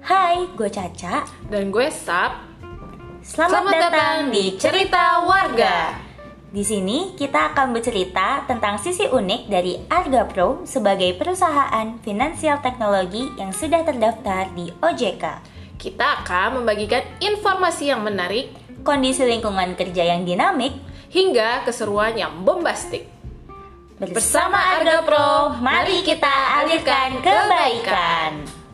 Hai, gue Caca. Dan gue Sap. Selamat, datang di Cerita Warga. Di sini kita akan bercerita tentang sisi unik dari Arga Pro sebagai perusahaan finansial teknologi yang sudah terdaftar di OJK. Kita akan membagikan informasi yang menarik Kondisi lingkungan kerja yang dinamik hingga keseruan yang bombastik. bersama Arga Pro, mari kita alirkan kebaikan.